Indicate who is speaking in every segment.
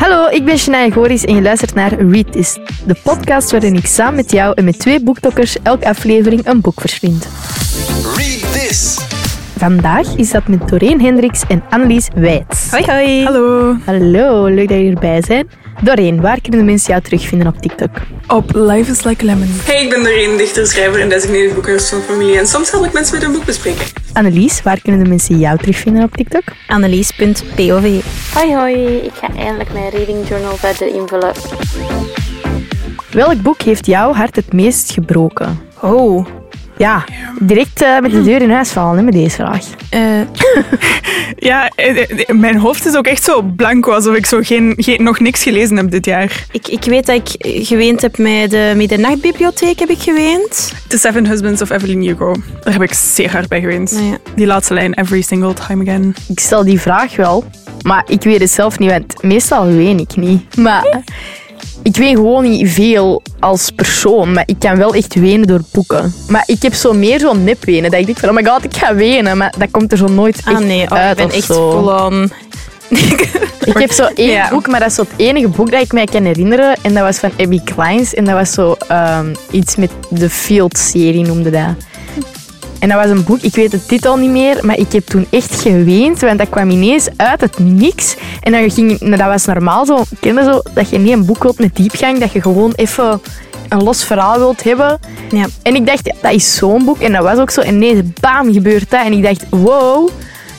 Speaker 1: Hallo, ik ben Shania Goris en je luistert naar Read This, de podcast waarin ik samen met jou en met twee boektokkers elke aflevering een boek verslind.
Speaker 2: Read this.
Speaker 1: Vandaag is dat met Doreen Hendricks en Annelies Wijts.
Speaker 3: Hoi, hoi.
Speaker 4: Hallo.
Speaker 1: Hallo, leuk dat jullie erbij zijn. Doreen, waar kunnen de mensen jou terugvinden op TikTok?
Speaker 4: Op Life is Like Lemon.
Speaker 3: Hey, ik ben Doreen, dichter, schrijver en designated boekhorst van familie. En soms help ik mensen met hun boek bespreken.
Speaker 1: Annelies, waar kunnen de mensen jou terugvinden op TikTok?
Speaker 5: Annelies.pov.
Speaker 6: Hoi hoi, ik ga eindelijk mijn reading journal verder invullen.
Speaker 1: Welk boek heeft jouw hart het meest gebroken?
Speaker 4: Oh.
Speaker 1: Ja, direct eh, met de deur in huis vallen hè, met deze vraag.
Speaker 4: Eh, ja, eh, eh, mijn hoofd is ook echt zo blanco, alsof ik zo geen, geen, nog niks gelezen heb dit jaar.
Speaker 5: Ik, ik weet dat ik eh, geweend heb met de middernachtbibliotheek, heb ik geweend.
Speaker 4: The Seven Husbands of Evelyn Hugo. Daar heb ik zeer hard bij geweend.
Speaker 5: Nou ja.
Speaker 4: Die laatste lijn, every single time again.
Speaker 1: Ik stel die vraag wel, maar ik weet het zelf niet, want meestal ween ik niet. Maar ik ween gewoon niet veel als persoon, maar ik kan wel echt wenen door boeken. Maar ik heb zo meer zo'n nepwenen, dat ik denk van, oh my god, ik ga wenen, maar dat komt er zo nooit echt
Speaker 5: Ah nee, oh,
Speaker 1: uit
Speaker 5: ik ben
Speaker 1: of
Speaker 5: echt
Speaker 1: zo.
Speaker 5: vol aan.
Speaker 1: Ik heb zo één
Speaker 5: Ja.
Speaker 1: boek, maar dat is zo het enige boek dat ik mij kan herinneren. En dat was van Abby Kleins. En dat was zo ehm, iets met de Field-serie, noemde dat. En dat was een boek, ik weet de titel niet meer, maar ik heb toen echt geweend, want dat kwam ineens uit het niks. En dan ging, nou, dat was normaal zo, ken je zo, dat je niet een boek wilt met diepgang, dat je gewoon even een los verhaal wilt hebben.
Speaker 5: Ja.
Speaker 1: En ik dacht, dat is zo'n boek. En dat was ook zo. En ineens, bam, gebeurt dat. En ik dacht, wow,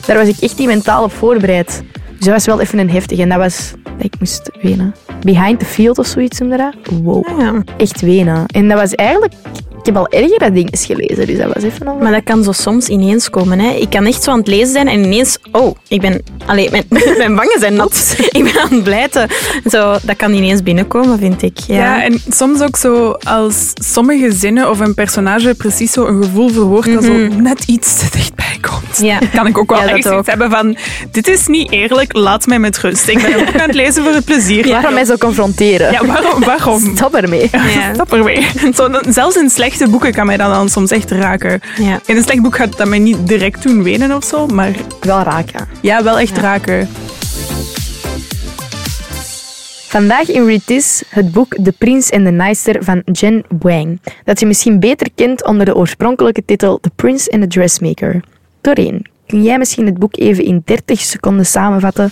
Speaker 1: daar was ik echt niet mentaal op voorbereid. Dus dat was wel even een heftig. En dat was, dat ik moest wenen. Behind the Field of zoiets noemde dat. Wow,
Speaker 5: Ah, ja.
Speaker 1: echt wenen. En dat was eigenlijk, ik heb al ergere dingen gelezen. Dus dat was even al...
Speaker 5: Maar dat kan zo soms ineens komen. Hè. Ik kan echt zo aan het lezen zijn en ineens... Oh, ik ben... Allee, mijn, mijn wangen zijn nat. Ik ben aan het blijten. Zo, dat kan ineens binnenkomen, vind ik. Ja,
Speaker 7: Ja. en soms ook zo als sommige zinnen of een personage precies zo een gevoel verwoordt dat zo net iets te dichtbij komt.
Speaker 5: Mhm. Ja.
Speaker 7: Kan ik ook wel
Speaker 5: Ja, dat
Speaker 7: echt iets
Speaker 5: ook.
Speaker 7: hebben van, dit is niet eerlijk, laat mij met rust. Ik ben een boek aan het lezen voor het plezier.
Speaker 1: Waarom mij zo confronteren?
Speaker 7: Ja, waarom? waarom?
Speaker 1: Stop ermee.
Speaker 5: Ja.
Speaker 7: Stap ermee. Zo, dan- zelfs in slechte boeken kan mij dat dan soms echt raken.
Speaker 5: Ja.
Speaker 7: In een slecht boek gaat dat mij niet direct doen wenen of zo, maar
Speaker 1: Wel raken.
Speaker 7: ja, wel echt raken.
Speaker 1: Vandaag in Read This het boek De Prins en de Naaister van Jen Wang, dat je misschien beter kent onder de oorspronkelijke titel The Prince and the Dressmaker. Doreen, kun jij misschien het boek even in 30 seconden samenvatten?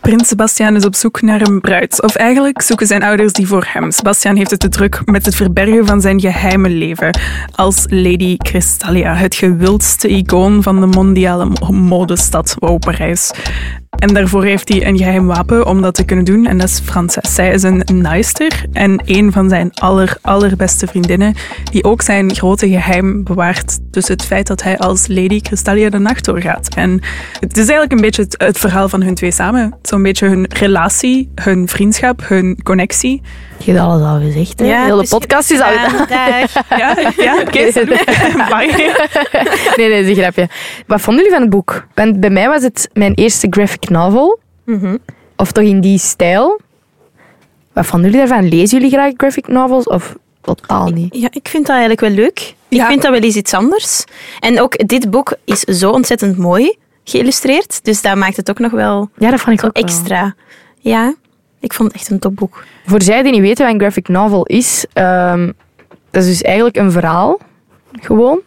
Speaker 7: Prins Sebastian is op zoek naar een bruid. Of eigenlijk zoeken zijn ouders die voor hem. Sebastian heeft het te druk met het verbergen van zijn geheime leven. Als Lady Cristallia, het gewildste icoon van de mondiale mo- modestad, wow, Parijs. En daarvoor heeft hij een geheim wapen om dat te kunnen doen. En dat is Frances. Zij is een naaister en een van zijn aller, allerbeste vriendinnen. Die ook zijn grote geheim bewaart. Dus het feit dat hij als Lady Cristallia de nacht doorgaat. En het is eigenlijk een beetje het, het verhaal van hun twee samen. Zo'n beetje hun relatie, hun vriendschap, hun connectie.
Speaker 1: Je hebt alles al gezegd, hè?
Speaker 5: Ja,
Speaker 1: Heel de
Speaker 5: dus je-
Speaker 1: podcast is al...
Speaker 5: Ja, dag.
Speaker 7: Ja, ja oké. salut. Bye.
Speaker 1: Nee, nee, dat is een grapje. Wat vonden jullie van het boek? Want bij mij was het mijn eerste graphic novel.
Speaker 5: Mhm.
Speaker 1: Of toch in die stijl. Wat vonden jullie daarvan? Lezen jullie graag graphic novels of totaal niet?
Speaker 5: Ja, ik vind dat eigenlijk wel leuk. Ik
Speaker 7: Ja.
Speaker 5: vind dat wel eens iets anders. En ook dit boek is zo ontzettend mooi geïllustreerd. Dus dat maakt het ook nog wel
Speaker 1: Ja, dat vond ik ook wel.
Speaker 5: extra. Ja, ik vond het echt een topboek.
Speaker 1: Voor zij die niet weten wat een graphic novel is, ehm, dat is dus eigenlijk een verhaal, gewoon.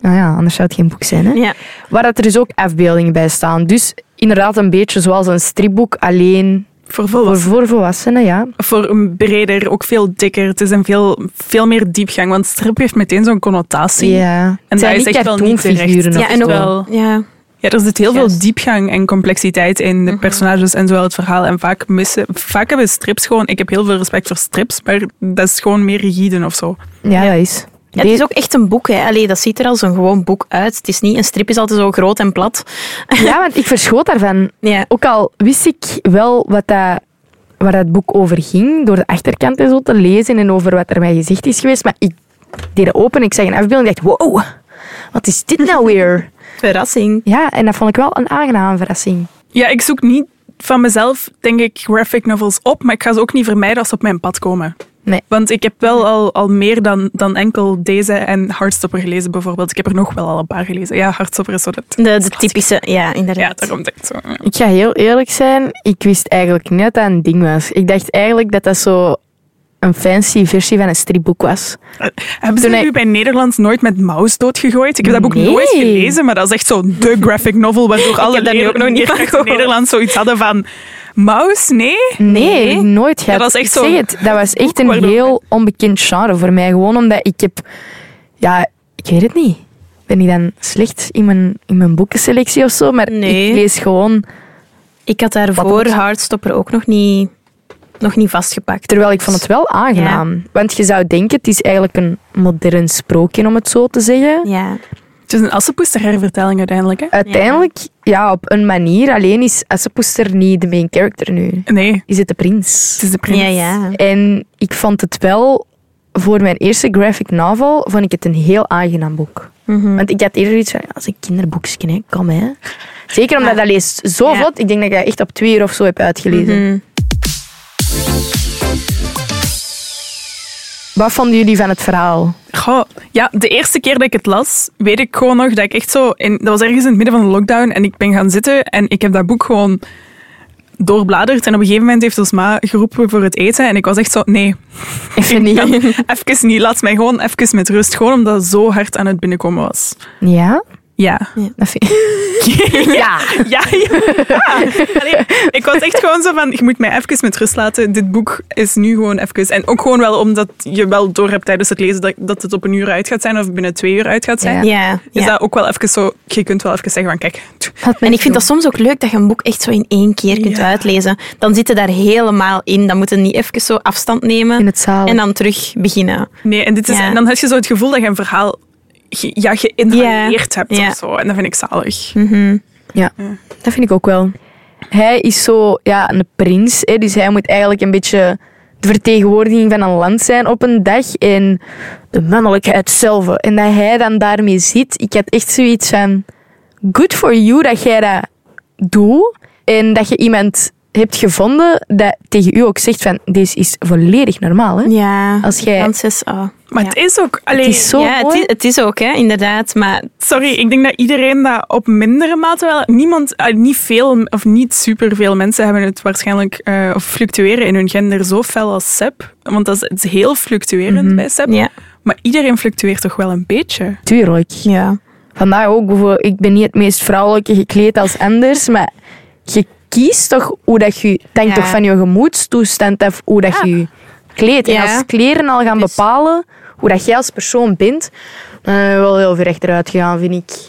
Speaker 1: Nou ja, anders zou het geen boek zijn. Hè?
Speaker 5: Ja.
Speaker 1: Waar dat er dus ook afbeeldingen bij staan. Dus inderdaad een beetje zoals een stripboek, alleen
Speaker 7: Voor
Speaker 1: voor,
Speaker 7: volwassenen.
Speaker 1: voor volwassenen, ja.
Speaker 7: voor een breder, ook veel dikker. Het is een veel, veel meer diepgang, want strip heeft meteen zo'n connotatie.
Speaker 1: ja.
Speaker 7: En
Speaker 1: Het zijn
Speaker 7: dat is
Speaker 1: niet
Speaker 7: echt wel niet terecht.
Speaker 1: cartoonfiguren of
Speaker 5: Ja, en ook
Speaker 1: zo.
Speaker 5: wel. Ja.
Speaker 7: Ja, er zit heel
Speaker 5: Juist.
Speaker 7: veel diepgang en complexiteit in de personages en zowel het verhaal. En vaak, missen, vaak hebben strips gewoon... Ik heb heel veel respect voor strips, maar dat is gewoon meer rigide of zo.
Speaker 1: Ja, dat is.
Speaker 5: Ja, het is ook echt een boek. Hè. Allee, dat ziet er als een gewoon boek uit. Het is niet, een strip is altijd zo groot en plat.
Speaker 1: ja, want ik verschoot daarvan.
Speaker 5: Ja,
Speaker 1: Ook al wist ik wel wat dat, waar dat boek over ging, door de achterkant en zo te lezen en over wat er mij gezegd is geweest, maar ik deed het open, ik zag een afbeelding en dacht, wow, wat is dit nou weer?
Speaker 5: verrassing.
Speaker 1: Ja, en dat vond ik wel een aangename verrassing.
Speaker 7: Ja, ik zoek niet van mezelf, denk ik, graphic novels op, maar ik ga ze ook niet vermijden als ze op mijn pad komen.
Speaker 1: Nee.
Speaker 7: Want ik heb wel al, al meer dan, dan enkel deze en Hardstopper gelezen bijvoorbeeld. Ik heb er nog wel al een paar gelezen. Ja, Hardstopper is zo dat...
Speaker 5: De, de typische, ja,
Speaker 7: Ja,
Speaker 5: inderdaad.
Speaker 7: daarom denk ik zo.
Speaker 1: Ik ga heel eerlijk zijn, ik wist eigenlijk niet dat dat een ding was. Ik dacht eigenlijk dat dat zo een fancy versie van een stripboek was.
Speaker 7: Hebben ze
Speaker 1: Toen
Speaker 7: nu
Speaker 1: hij-
Speaker 7: bij Nederlands nooit met Maus doodgegooid? Ik heb dat boek
Speaker 1: Nee.
Speaker 7: nooit gelezen, maar dat is echt zo de graphic novel waardoor alle
Speaker 5: heb daar nu
Speaker 7: leer-
Speaker 5: ook nog niet
Speaker 7: leerkrachten
Speaker 5: van gehoord.
Speaker 7: in Nederland zoiets hadden van... Maus? Nee?
Speaker 1: Nee,
Speaker 7: Nee?
Speaker 1: nooit gehad.
Speaker 7: Dat was echt
Speaker 1: ik
Speaker 7: zo'n
Speaker 1: zeg het, dat was echt een
Speaker 7: waardoor-
Speaker 1: heel onbekend genre voor mij. Gewoon omdat ik heb... Ja, ik weet het niet. Ben ik dan slecht in mijn, in mijn boekenselectie of zo? Maar
Speaker 5: Nee.
Speaker 1: ik lees gewoon...
Speaker 5: Ik had daarvoor
Speaker 1: Wat-
Speaker 5: Hardstopper ook nog niet, nog niet vastgepakt.
Speaker 1: Terwijl ik vond het wel aangenaam. Want je zou denken, het is eigenlijk een modern sprookje, om het zo te zeggen.
Speaker 5: Ja.
Speaker 7: Het is een assenpoester hervertelling uiteindelijk, hè?
Speaker 1: Uiteindelijk, ja, op een manier. Alleen is Assepoester niet de main character nu.
Speaker 7: Nee,
Speaker 1: Is het de prins.
Speaker 7: het is de prins.
Speaker 5: Ja, ja.
Speaker 1: En ik vond het wel, voor mijn eerste graphic novel, vond ik het een heel aangenaam boek.
Speaker 5: Mhm.
Speaker 1: Want ik had eerder iets van, ja, dat is een kinderboekje, hè. kom hè. Zeker omdat dat leest zo
Speaker 5: Ja. Mhm.
Speaker 1: vlot. Ik denk dat ik dat echt op twee uur of zo heb uitgelezen. Wat vonden jullie van het verhaal?
Speaker 7: Goh, ja, de eerste keer dat ik het las, weet ik gewoon nog dat ik echt zo... In, dat was ergens in het midden van de lockdown en ik ben gaan zitten en ik heb dat boek gewoon doorbladerd. En op een gegeven moment heeft ons ma geroepen voor het eten en ik was echt zo... Nee,
Speaker 1: Even niet.
Speaker 7: even niet. Laat mij gewoon even met rust. Gewoon omdat het zo hard aan het binnenkomen was.
Speaker 1: Ja?
Speaker 7: Ja.
Speaker 1: Dat vind ja.
Speaker 7: Ja, ja. Ah, Allee, ik was echt gewoon zo van, je moet mij even met rust laten. Dit boek is nu gewoon even. En ook gewoon wel omdat je wel door hebt tijdens het lezen dat, dat het op een uur uit gaat zijn of binnen twee uur uit gaat zijn.
Speaker 1: Ja.
Speaker 5: Ja,
Speaker 7: Is
Speaker 5: ja.
Speaker 7: dat ook wel even zo, je kunt wel even zeggen van kijk, tch,
Speaker 5: En ik vind dat soms ook leuk dat je een boek echt zo in één keer kunt
Speaker 7: Ja.
Speaker 5: uitlezen. Dan zit je daar helemaal in. Dan moet je niet even zo afstand nemen.
Speaker 1: In het zaal.
Speaker 5: En dan terug beginnen.
Speaker 7: nee. En, dit is,
Speaker 5: Ja.
Speaker 7: en dan heb je zo het gevoel dat je een verhaal ge, ja, geïnhaleerd
Speaker 5: Ja.
Speaker 7: hebt
Speaker 5: Ja.
Speaker 7: of zo. En dat vind ik zalig.
Speaker 5: Mhm.
Speaker 1: Ja, dat vind ik ook wel. Hij is zo, ja, een prins. Hè, dus hij moet eigenlijk een beetje de vertegenwoordiging van een land zijn op een dag. En de mannelijkheid zelf. En dat hij dan daarmee zit. Ik had echt zoiets van... Good for you dat jij dat doet. En dat je iemand hebt gevonden dat tegen u ook zegt van... Deze is volledig normaal, hè?
Speaker 5: Ja.
Speaker 1: Als jij-
Speaker 5: Frances, oh.
Speaker 7: Maar
Speaker 5: Ja.
Speaker 7: het is ook... Allee,
Speaker 1: Het is zo
Speaker 5: ja, het
Speaker 1: mooi.
Speaker 5: is, het is ook, hè, inderdaad. Maar
Speaker 7: Sorry, ik denk dat iedereen dat op mindere mate wel. Niemand, eh, niet veel of niet superveel mensen hebben het waarschijnlijk eh, of fluctueren in hun gender zo fel als Seb. Want dat is, het is heel fluctuerend bij Seb.
Speaker 5: Mhm. ja.
Speaker 7: Maar iedereen fluctueert toch wel een beetje.
Speaker 1: Tuurlijk.
Speaker 5: ja.
Speaker 1: Vandaag ook, bijvoorbeeld, ik ben niet het meest vrouwelijke gekleed als anders, maar je kiest toch hoe dat je denkt
Speaker 5: Ja.
Speaker 1: toch van je gemoedstoestand af hoe dat je je kleedt.
Speaker 5: Ja. Dus-
Speaker 1: En als kleren al gaan bepalen hoe dat jij als persoon bent, dan ben je wel heel veel rechteruit gegaan, vind ik.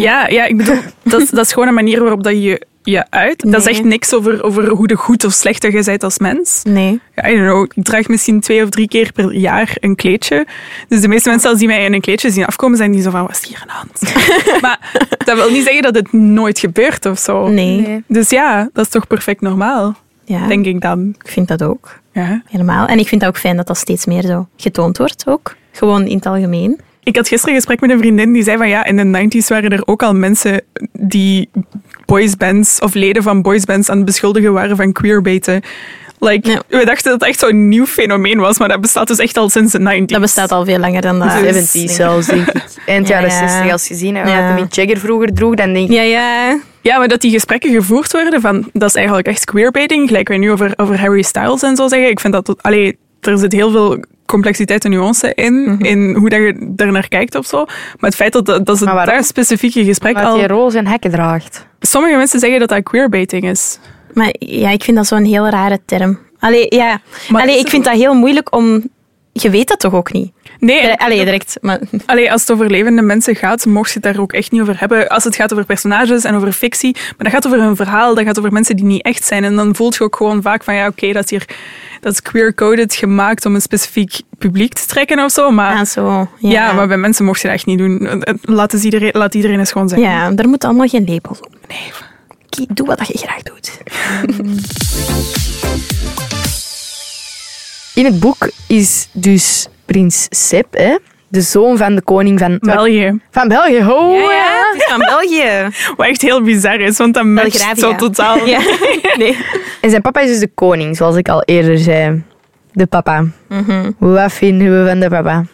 Speaker 7: Ja, ja ik bedoel, dat, is- dat is gewoon een manier waarop dat je je uit. Dat
Speaker 5: Nee.
Speaker 7: zegt niks over, over hoe de goed of slecht dat je bent als mens.
Speaker 5: Nee.
Speaker 7: Ja, I don't know, ik draag misschien twee of drie keer per jaar een kleedje. Dus de meeste mensen als die mij in een kleedje zien afkomen, zijn die zo van, wat is hier aan de hand? maar dat wil niet zeggen dat het nooit gebeurt of zo.
Speaker 5: Nee.
Speaker 7: Dus ja, dat is toch perfect normaal,
Speaker 5: Ja,
Speaker 7: denk ik dan.
Speaker 5: ik vind dat ook.
Speaker 7: Ja.
Speaker 5: Helemaal. En ik vind dat ook fijn dat dat steeds meer zo getoond wordt ook. Gewoon in het algemeen.
Speaker 7: Ik had gisteren een gesprek met een vriendin die zei van ja, in de 90s waren er ook al mensen die boysbands of leden van boysbands aan het beschuldigen waren van queerbaiten. Like,
Speaker 5: Ja.
Speaker 7: We dachten dat het echt zo'n nieuw fenomeen was, maar dat bestaat dus echt al sinds de 90s.
Speaker 5: Dat bestaat al veel langer dan dat.
Speaker 1: 70 Ah, zelfs, denk ik. Eind
Speaker 5: Ja,
Speaker 1: jaren
Speaker 5: ja.
Speaker 1: 60 als je ziet, hè, wat
Speaker 5: Ja.
Speaker 1: de Mick Jagger vroeger droeg, dan denk ik...
Speaker 5: Ja, ja.
Speaker 7: Ja, maar dat die gesprekken gevoerd worden van dat is eigenlijk echt queerbaiting, gelijk wij nu over, over Harry Styles en zo zeggen. Ik vind dat, dat allee, er zit heel veel complexiteit en nuance in,
Speaker 1: Mhm.
Speaker 7: in hoe dat je er naar kijkt of zo. Maar het feit dat, dat, dat ze
Speaker 1: Maar waarom?
Speaker 7: daar specifieke gesprek
Speaker 1: Dat je
Speaker 7: al...
Speaker 1: roze en hekken draagt.
Speaker 7: Sommige mensen zeggen dat dat queerbaiting is.
Speaker 5: Maar ja, ik vind dat zo'n heel rare term. Allee, ja.
Speaker 7: Maar
Speaker 5: Allee,
Speaker 7: is
Speaker 5: ik
Speaker 7: het
Speaker 5: vind dat heel moeilijk om... Je weet dat toch ook niet? Eh,
Speaker 7: Nee, en-
Speaker 5: Allee, direct. Maar,
Speaker 7: allee, als het over levende mensen gaat, mocht je het daar ook echt niet over hebben. Als het gaat over personages en over fictie, maar dat gaat over een verhaal, dat gaat over mensen die niet echt zijn. En dan voelt je ook gewoon vaak van ja, oké, dat is hier... Dat is queer-coded gemaakt om een specifiek publiek te trekken of zo, maar...
Speaker 5: ah, zo. Ja.
Speaker 7: Ja, maar bij mensen mocht je dat echt niet doen. Laat, eens iedereen, laat iedereen eens gewoon zijn.
Speaker 5: Ja, daar moeten allemaal geen labels op. Nee. Kie- Doe wat je graag doet.
Speaker 1: In het boek is dus prins Seb, hè, de zoon van de koning van...
Speaker 7: België.
Speaker 1: Van België, ho!
Speaker 5: het is van België.
Speaker 7: Wat echt heel bizar is, want dat matcht
Speaker 5: Belgravia.
Speaker 7: zo totaal.
Speaker 5: Ja. Nee.
Speaker 1: En zijn papa is dus de koning, zoals ik al eerder zei. De papa.
Speaker 5: Mhm.
Speaker 1: Wat vinden we van de papa?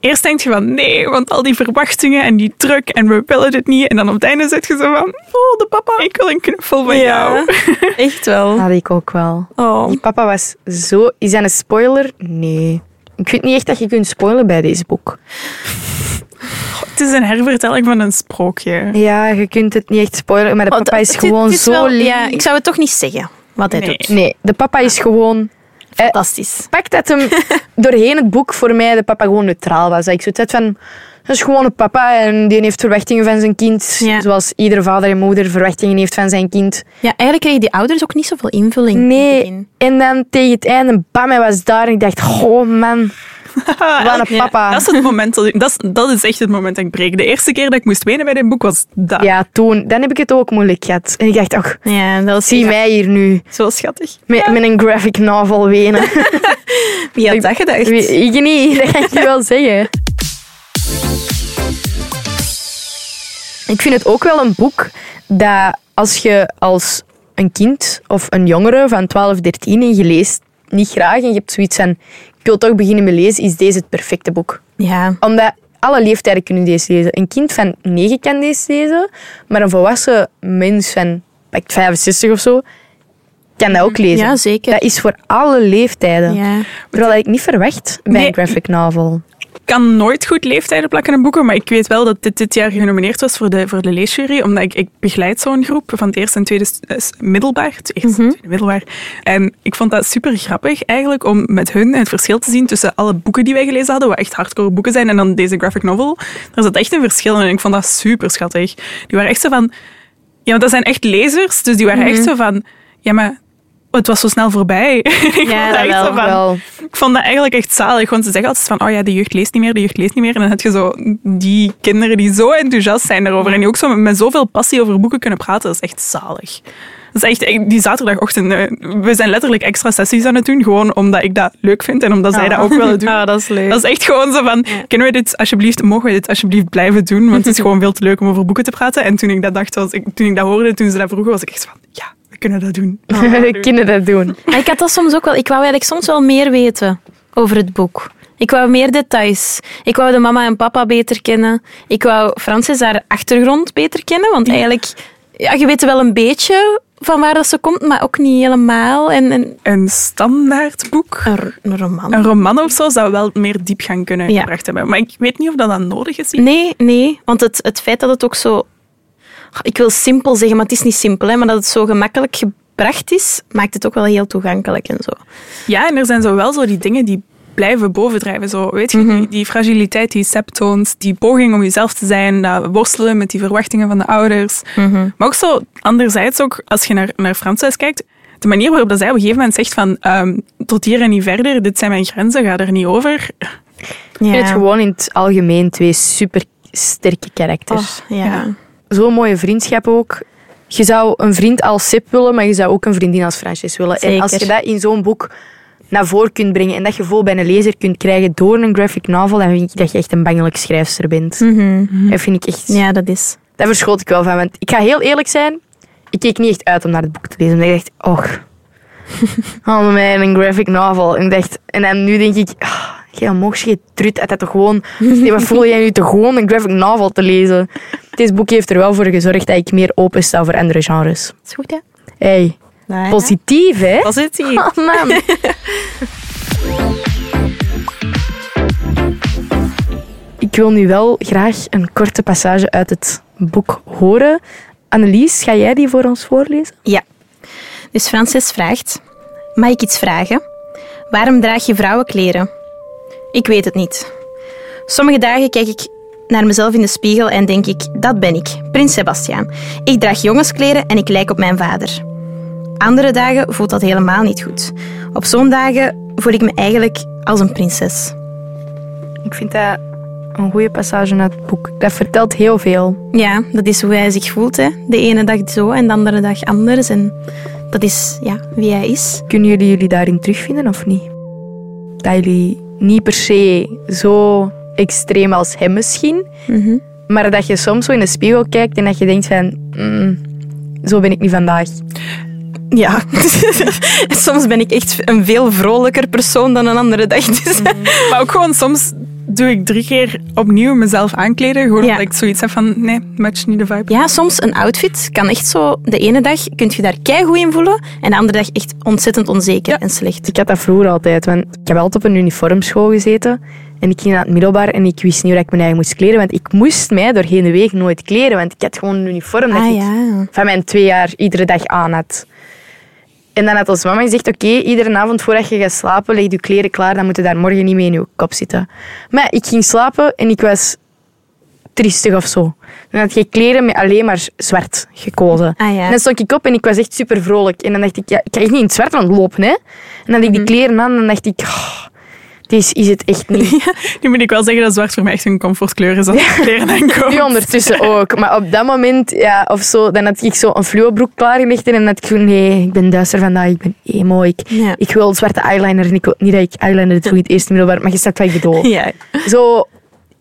Speaker 7: Eerst denk je van nee, want al die verwachtingen en die druk en we willen dit niet. En dan op het einde zit je zo van, oh de papa, ik wil een knuffel van jou.
Speaker 5: Echt wel.
Speaker 1: Had ik ook wel.
Speaker 5: Oh.
Speaker 1: Die papa was zo... Is dat een spoiler? Nee. Ik vind niet echt dat je kunt spoilen bij deze boek.
Speaker 7: Het is een hervertelling van een sprookje.
Speaker 1: Ja, je kunt het niet echt spoilen, maar de papa is
Speaker 5: Het-
Speaker 1: gewoon
Speaker 5: het is
Speaker 1: zo
Speaker 5: wel-
Speaker 1: lief.
Speaker 5: Ja, ik zou het toch niet zeggen wat hij
Speaker 7: Nee.
Speaker 5: doet.
Speaker 1: Nee, de papa is gewoon...
Speaker 5: Fantastisch.
Speaker 1: Pak dat hem doorheen het boek voor mij de papa gewoon neutraal was. Dat Ik zoiets had van... Dat is gewoon een papa en die heeft verwachtingen van zijn kind.
Speaker 5: Ja.
Speaker 1: Zoals iedere vader en moeder verwachtingen heeft van zijn kind.
Speaker 5: Ja, eigenlijk kregen die ouders ook niet zoveel invulling. in het
Speaker 1: Nee.
Speaker 5: begin.
Speaker 1: En dan tegen het einde, bam, hij was daar. En ik dacht, oh man, wat een papa.
Speaker 7: Dat is het moment, dat, dat, is, dat is echt het moment dat ik breek. De eerste keer dat ik moest wenen bij dit boek was dat.
Speaker 1: Ja, toen. Dan heb ik het ook moeilijk gehad. En ik dacht, ach,
Speaker 5: Ja, dat is
Speaker 1: zie mij hier nu.
Speaker 7: Zo schattig.
Speaker 1: Met, met een graphic novel wenen.
Speaker 5: Wie had dat gedacht?
Speaker 1: Wie- Ik niet, dat kan ik je wel zeggen. Ik vind het ook wel een boek dat als je als een kind of een jongere van 12, 13 en je leest niet graag en je hebt zoiets van ik wil toch beginnen met lezen, is deze het perfecte boek.
Speaker 5: Ja.
Speaker 1: Omdat alle leeftijden kunnen deze lezen. Een kind van 9 kan deze lezen, maar een volwassen mens van pak 65 of zo kan dat ook lezen.
Speaker 5: Mm, Ja, zeker.
Speaker 1: Dat is voor alle leeftijden.
Speaker 5: Ja.
Speaker 1: Terwijl ik niet verwacht bij
Speaker 7: Nee.
Speaker 1: een graphic novel.
Speaker 7: Ik kan nooit goed leeftijden plakken in boeken, maar ik weet wel dat dit dit jaar genomineerd was voor de, voor de leesjury, omdat ik, ik begeleid zo'n groep van het eerste en tweede s- eh, s- middelbaar, het eerste
Speaker 5: Mhm.
Speaker 7: en tweede middelbaar. En ik vond dat super grappig eigenlijk om met hun het verschil te zien tussen alle boeken die wij gelezen hadden, wat echt hardcore boeken zijn, en dan deze graphic novel. Er zat echt een verschil in en ik vond dat super schattig. Die waren echt zo van, ja, want dat zijn echt lezers, dus die waren
Speaker 5: Mhm.
Speaker 7: echt zo van, ja, maar het was zo snel voorbij. ik
Speaker 5: Ja,
Speaker 7: vond
Speaker 5: dat
Speaker 7: echt
Speaker 5: wel,
Speaker 7: zo van,
Speaker 1: Wel,
Speaker 7: ik vond dat eigenlijk echt zalig, want ze zeggen altijd van, oh ja, de jeugd leest niet meer, de jeugd leest niet meer. En dan heb je zo die kinderen die zo enthousiast zijn daarover en die ook zo met, met zoveel passie over boeken kunnen praten. Dat is echt zalig. Dat is echt, echt die zaterdagochtend, eh, we zijn letterlijk extra sessies aan het doen, gewoon omdat ik dat leuk vind en omdat zij dat ook willen doen.
Speaker 5: Ah, dat is leuk.
Speaker 7: Dat is echt gewoon zo van, kunnen we dit alsjeblieft, mogen we dit alsjeblieft blijven doen, want het is gewoon veel te leuk om over boeken te praten. En toen ik dat dacht, was ik, toen ik dat hoorde, toen ze dat vroegen, was ik echt van, ja, we kunnen dat doen.
Speaker 5: Ah,
Speaker 1: we kunnen dat doen.
Speaker 5: Maar ik had dat soms ook wel. Ik wou eigenlijk soms wel meer weten over het boek. Ik wou meer details. Ik wou de mama en papa beter kennen. Ik wou Frances haar achtergrond beter kennen. Want eigenlijk, ja, je weet wel een beetje van waar dat ze komt, maar ook niet helemaal. En, en
Speaker 7: Een standaard boek.
Speaker 5: een, r- een roman.
Speaker 7: een roman of zo zou wel meer diepgang kunnen
Speaker 5: Ja. Mm.
Speaker 7: gebracht hebben. Maar ik weet niet of dat dan nodig is.
Speaker 5: Nee, nee. Want het, het feit dat het ook zo... Ik wil simpel zeggen, maar het is niet simpel. Hè, maar dat het zo gemakkelijk gebracht is, maakt het ook wel heel toegankelijk en zo.
Speaker 7: Ja, en er zijn zo wel zo die dingen die blijven bovendrijven. Zo, weet je,
Speaker 5: Mhm.
Speaker 7: die, die fragiliteit die Seb toont, die poging om jezelf te zijn, dat worstelen met die verwachtingen van de ouders.
Speaker 5: Mm.
Speaker 7: Maar ook zo, anderzijds ook, als je naar, naar Frances kijkt, de manier waarop dat zij op een gegeven moment zegt van ehm, tot hier en niet verder, dit zijn mijn grenzen, ga er niet over.
Speaker 1: Ik vind het gewoon in het algemeen twee super sterke karakters.
Speaker 5: Oh, ja.
Speaker 1: Zo'n mooie vriendschap ook. Je zou een vriend als Sip willen, maar je zou ook een vriendin als Frances willen. En
Speaker 5: Zeker.
Speaker 1: als je dat in zo'n boek naar voren kunt brengen en dat gevoel bij een lezer kunt krijgen door een graphic novel, dan vind ik dat je echt een bangelijk schrijfster bent. Dat vind ik echt...
Speaker 5: Mhm. ja, dat is...
Speaker 1: Daar verschoot ik wel van. Want ik ga heel eerlijk zijn, ik keek niet echt uit om naar het boek te lezen. Omdat ik dacht, och, oh mijn, een graphic novel. En, ik dacht, en dan nu denk ik, oh, jij mocht je trut uit dat toch gewoon... Nee, wat voel jij nu te gewoon een graphic novel te lezen? Dit boek heeft er wel voor gezorgd dat ik meer open sta voor andere genres.
Speaker 5: is goed, hè?
Speaker 1: Hey, positief hè?
Speaker 5: Positief.
Speaker 1: Oh man. Ik wil nu wel graag een korte passage uit het boek horen. Annelies, ga jij die voor ons voorlezen?
Speaker 5: Ja. Dus Frances vraagt: Mag ik iets vragen? Waarom draag je vrouwenkleren? Ik weet het niet. Sommige dagen kijk ik naar mezelf in de spiegel en denk ik: Dat ben ik, Prins Sebastiaan. Ik draag jongenskleren en ik lijk op mijn vader. Andere dagen voelt dat helemaal niet goed. Op zo'n dagen voel ik me eigenlijk als een prinses.
Speaker 1: Ik vind dat een goede passage uit het boek. Dat vertelt heel veel.
Speaker 5: Ja, dat is hoe hij zich voelt. Hè. De ene dag zo en de andere dag anders. En dat is ja, wie hij is.
Speaker 1: Kunnen jullie jullie daarin terugvinden of niet? Dat jullie niet per se zo extreem als hem misschien,
Speaker 5: Mhm.
Speaker 1: maar dat je soms zo in de spiegel kijkt en dat je denkt van, "Mm, zo ben ik niet vandaag.
Speaker 5: Ja, soms ben ik echt een veel vrolijker persoon dan een andere dag. Dus
Speaker 7: Maar ook gewoon soms doe ik drie keer opnieuw mezelf aankleden. Gewoon
Speaker 5: Ja.
Speaker 7: omdat ik zoiets heb van, nee, match niet de vibe.
Speaker 5: Ja, soms een outfit kan echt zo... De ene dag kun je daar keigoed in voelen en de andere dag echt ontzettend onzeker en slecht.
Speaker 1: Ik had dat vroeger altijd, want ik heb altijd op een uniformschool gezeten. En ik ging naar het middelbaar en ik wist niet hoe ik mijn eigen moest kleden. Want ik moest mij doorheen de week nooit kleden, want ik had gewoon een uniform dat ik
Speaker 5: ja.
Speaker 1: van mijn twee jaar iedere dag aan had. En dan had ons mama gezegd, oké, iedere avond voordat je gaat slapen, leg je kleren klaar, dan moet je daar morgen niet mee in je kop zitten. Maar ik ging slapen en ik was triestig of zo. Dan had je kleren met alleen maar zwart gekozen.
Speaker 5: Ah, ja.
Speaker 1: En dan stond ik op en ik was echt super vrolijk. En dan dacht ik, ja, ik ga echt niet in het zwart rondlopen. Hè? En dan had ik die kleren aan en dan dacht ik, oh, deze is het echt niet.
Speaker 7: Nu moet ik wel zeggen dat zwart voor mij echt een comfortkleur is als ik kleren aankoop.
Speaker 1: Nu ondertussen ook. Maar op dat moment, ja, of zo, dan had ik zo een fluobroek klaargelegd en dan had ik zo, nee, ik ben duister vandaag, ik ben emo, ik,
Speaker 5: Ja.
Speaker 1: ik wil zwarte eyeliner en ik wil niet dat ik eyeliner doe in het eerste middelbaar, maar je snapt wat ik bedoel.
Speaker 5: Ja.
Speaker 1: Zo,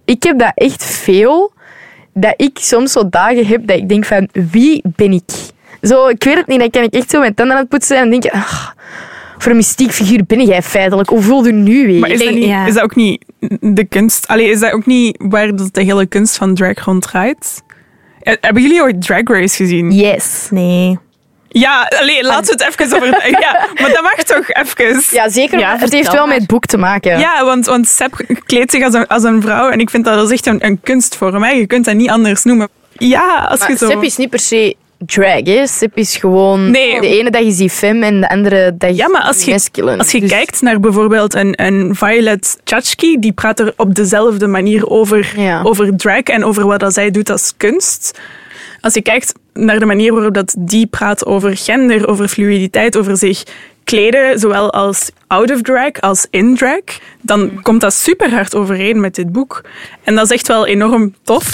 Speaker 1: ik heb dat echt veel, dat ik soms zo dagen heb dat ik denk van, wie ben ik? Zo, ik weet het niet, dan kan ik echt zo mijn tanden aan het poetsen zijn en denk ik, ah, voor een mystiek figuur ben jij feitelijk, hoe voel je nu weer?
Speaker 7: Maar is dat,
Speaker 5: denk-
Speaker 7: niet,
Speaker 5: ja.
Speaker 7: is dat ook niet de kunst? Allee, is dat ook niet waar dat de hele kunst van drag rond draait? Eh, Hebben jullie ooit Drag Race gezien?
Speaker 1: Yes.
Speaker 5: Nee.
Speaker 7: Ja, allee, laten we het even over... Ja, maar dat mag toch even?
Speaker 1: Ja, zeker.
Speaker 5: Ja,
Speaker 1: het heeft
Speaker 5: vertel
Speaker 1: wel
Speaker 5: maar.
Speaker 1: met het boek te maken.
Speaker 7: Ja, want, want Seb kleedt zich als een, als een vrouw en ik vind dat dat is echt een, een kunstvorm. Hè. Je kunt dat niet anders noemen. Ja, als je
Speaker 1: Maar
Speaker 7: zo...
Speaker 1: Sep is niet per se drag, hè. Sep is gewoon...
Speaker 7: Nee.
Speaker 1: De ene dag is hij fem en de andere dag
Speaker 7: Ja, maar als je,
Speaker 1: masculine.
Speaker 7: als je
Speaker 1: Dus-
Speaker 7: kijkt naar bijvoorbeeld een, een Violet Chachki, die praat er op dezelfde manier over,
Speaker 1: Ja.
Speaker 7: over drag en over wat dat zij doet als kunst. Als je kijkt naar de manier waarop dat die praat over gender, over fluiditeit, over zich kleden, zowel als out of drag als in drag, dan komt dat super hard overeen met dit boek. En dat is echt wel enorm tof.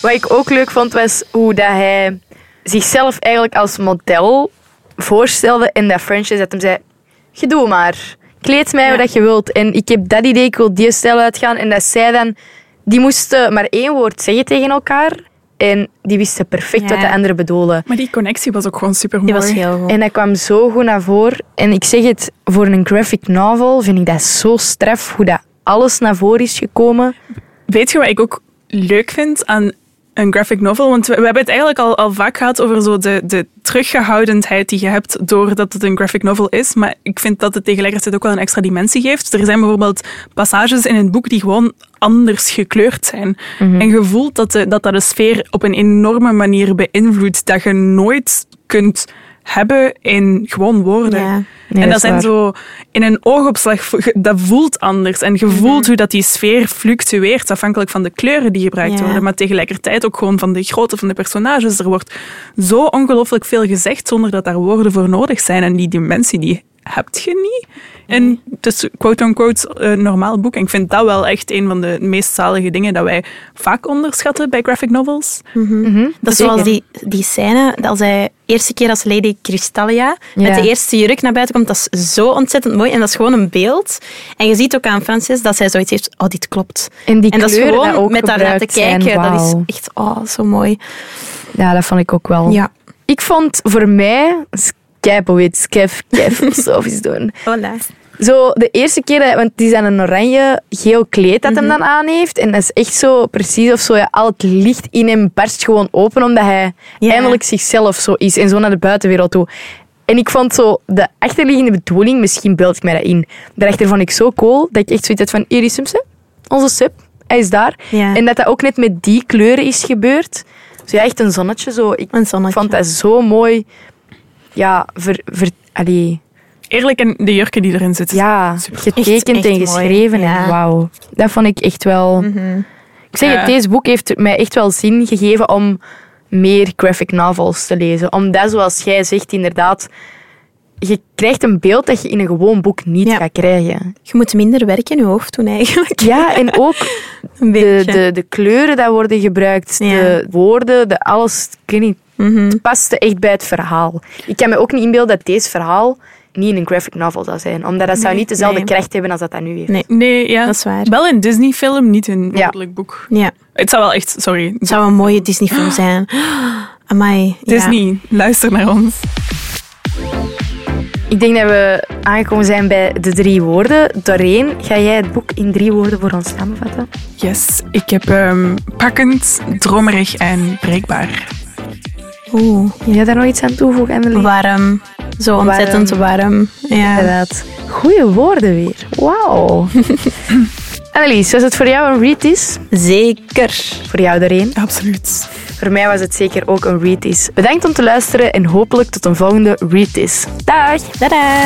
Speaker 1: Wat ik ook leuk vond, was hoe dat hij zichzelf eigenlijk als model voorstelde. En dat franchise dat hem zei, je doe maar. Kleed mij wat je wilt. En ik heb dat idee, ik wil die stijl uitgaan. En dat zij dan... Die moesten maar één woord zeggen tegen elkaar. En die wisten perfect
Speaker 5: Ja.
Speaker 1: wat de anderen bedoelden.
Speaker 7: Maar die connectie was ook gewoon super mooi.
Speaker 5: Die was heel goed.
Speaker 1: En dat kwam zo goed naar voren. En ik zeg het, voor een graphic novel vind ik dat zo straf hoe dat alles naar voren is gekomen.
Speaker 7: Weet je wat ik ook leuk vind aan een graphic novel? Want we, we hebben het eigenlijk al, al vaak gehad over zo de, de teruggehoudendheid die je hebt doordat het een graphic novel is. Maar ik vind dat het tegelijkertijd ook wel een extra dimensie geeft. Er zijn bijvoorbeeld passages in het boek die gewoon anders gekleurd zijn.
Speaker 1: Mhm.
Speaker 7: En je voelt dat, de, dat dat de sfeer op een enorme manier beïnvloedt dat je nooit kunt hebben in gewoon woorden.
Speaker 5: Ja.
Speaker 1: dat
Speaker 7: en
Speaker 5: Nee,
Speaker 1: is
Speaker 7: dat zijn
Speaker 1: waar.
Speaker 7: zo zo in een oogopslag, vo- ge- dat voelt anders. En
Speaker 5: Mhm.
Speaker 7: je voelt hoe dat die sfeer fluctueert afhankelijk van de kleuren die gebruikt
Speaker 5: Ja.
Speaker 7: worden. Maar tegelijkertijd ook gewoon van de grootte van de personages. Er wordt zo ongelooflijk veel gezegd zonder dat daar woorden voor nodig zijn. En die dimensie, die hebt je niet. En dus quote-unquote eh, normaal boek. En ik vind dat wel echt een van de meest zalige dingen dat wij vaak onderschatten bij graphic novels.
Speaker 5: Mhm.
Speaker 1: Mhm.
Speaker 5: Dat is zoals die, die scène, dat als hij eerste keer als Lady Crystalia met
Speaker 1: Ja.
Speaker 5: de eerste jurk naar buiten komt, dat is zo ontzettend mooi. En dat is gewoon een beeld. En je ziet ook aan Francis dat zij zoiets heeft, oh, dit klopt.
Speaker 1: En die
Speaker 5: dat is
Speaker 1: kleuren
Speaker 5: gewoon
Speaker 1: dat ook
Speaker 5: met daarnaar te
Speaker 1: gebruikt zijn,
Speaker 5: kijken, dat
Speaker 1: wauw.
Speaker 5: is echt, oh, zo mooi.
Speaker 1: Ja, dat vond ik ook wel.
Speaker 5: Ja.
Speaker 1: Ik vond voor mij... Skypoïd, kef, kef, filosofisch doen.
Speaker 5: Voilà.
Speaker 1: Zo, de eerste keer, dat- want die zijn een oranje-geel kleed dat
Speaker 5: Mhm.
Speaker 1: hem dan aan heeft. En dat is echt zo precies of zo, ja, al het licht in hem barst gewoon open, omdat hij
Speaker 5: Ja.
Speaker 1: eindelijk zichzelf zo is en zo naar de buitenwereld toe. En ik vond zo de achterliggende bedoeling, misschien beeld ik mij dat in, daarachter vond ik zo cool dat ik echt zoiets had van, hier is hem, Seb. onze Sub, hij is daar.
Speaker 5: Ja.
Speaker 1: En dat dat ook net met die kleuren is gebeurd. Dus ja, echt een zonnetje zo. Ik
Speaker 5: Een zonnetje.
Speaker 1: vond dat zo mooi. Ja, ver, ver, allee,
Speaker 7: Eerlijk, en de jurken die erin zitten.
Speaker 1: ja,
Speaker 5: Echt,
Speaker 1: getekend
Speaker 5: echt
Speaker 1: en
Speaker 5: mooi.
Speaker 1: geschreven.
Speaker 5: Ja. Mhm.
Speaker 1: En wauw, dat vond ik echt wel... Ik zeg
Speaker 7: Ja.
Speaker 1: het, deze boek heeft mij echt wel zin gegeven om meer graphic novels te lezen. Omdat, zoals jij zegt, inderdaad... Je krijgt een beeld dat je in een gewoon boek niet
Speaker 5: Ja.
Speaker 1: gaat krijgen.
Speaker 5: Je moet minder werk in je hoofd doen eigenlijk.
Speaker 1: Ja, en ook
Speaker 5: Een
Speaker 1: de,
Speaker 5: beetje.
Speaker 1: de, de kleuren die worden gebruikt,
Speaker 5: Ja. Mhm.
Speaker 1: de woorden, de alles. Ik weet niet, het paste echt bij het verhaal. Ik kan me ook niet inbeelden dat deze verhaal niet in een graphic novel zou zijn. Omdat dat zou niet dezelfde
Speaker 5: nee.
Speaker 1: kracht hebben als dat dat nu heeft.
Speaker 5: Nee.
Speaker 7: Nee, ja.
Speaker 5: Dat is waar.
Speaker 7: Wel een Disney-film, niet een
Speaker 1: Ja.
Speaker 7: woordelijk boek.
Speaker 5: Ja,
Speaker 7: Het zou wel echt, sorry,
Speaker 5: het zou een mooie Disney-film zijn. Amai. ja.
Speaker 7: Disney, luister naar ons.
Speaker 1: Ik denk dat we aangekomen zijn bij de drie woorden. Doreen, ga jij het boek in drie woorden voor ons samenvatten?
Speaker 7: Yes, ik heb ehm, pakkend, dromerig en breekbaar.
Speaker 5: Oeh,
Speaker 1: Wil jij daar nog iets aan toevoegen, Emily?
Speaker 5: warm. Zo ontzettend warm. Ja.
Speaker 1: Inderdaad. Goeie woorden weer. Wauw. Annelies, was het voor jou een read is?
Speaker 5: Zeker.
Speaker 1: Voor jou Doreen.
Speaker 7: Absoluut.
Speaker 1: Voor mij was het zeker ook een read is. Bedankt om te luisteren en hopelijk tot een volgende read is. Dag!
Speaker 5: Tadaa.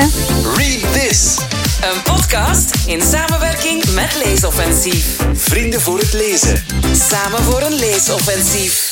Speaker 2: Read this.
Speaker 8: Een podcast in samenwerking met Leesoffensief.
Speaker 2: Vrienden voor het lezen.
Speaker 8: Samen voor een leesoffensief.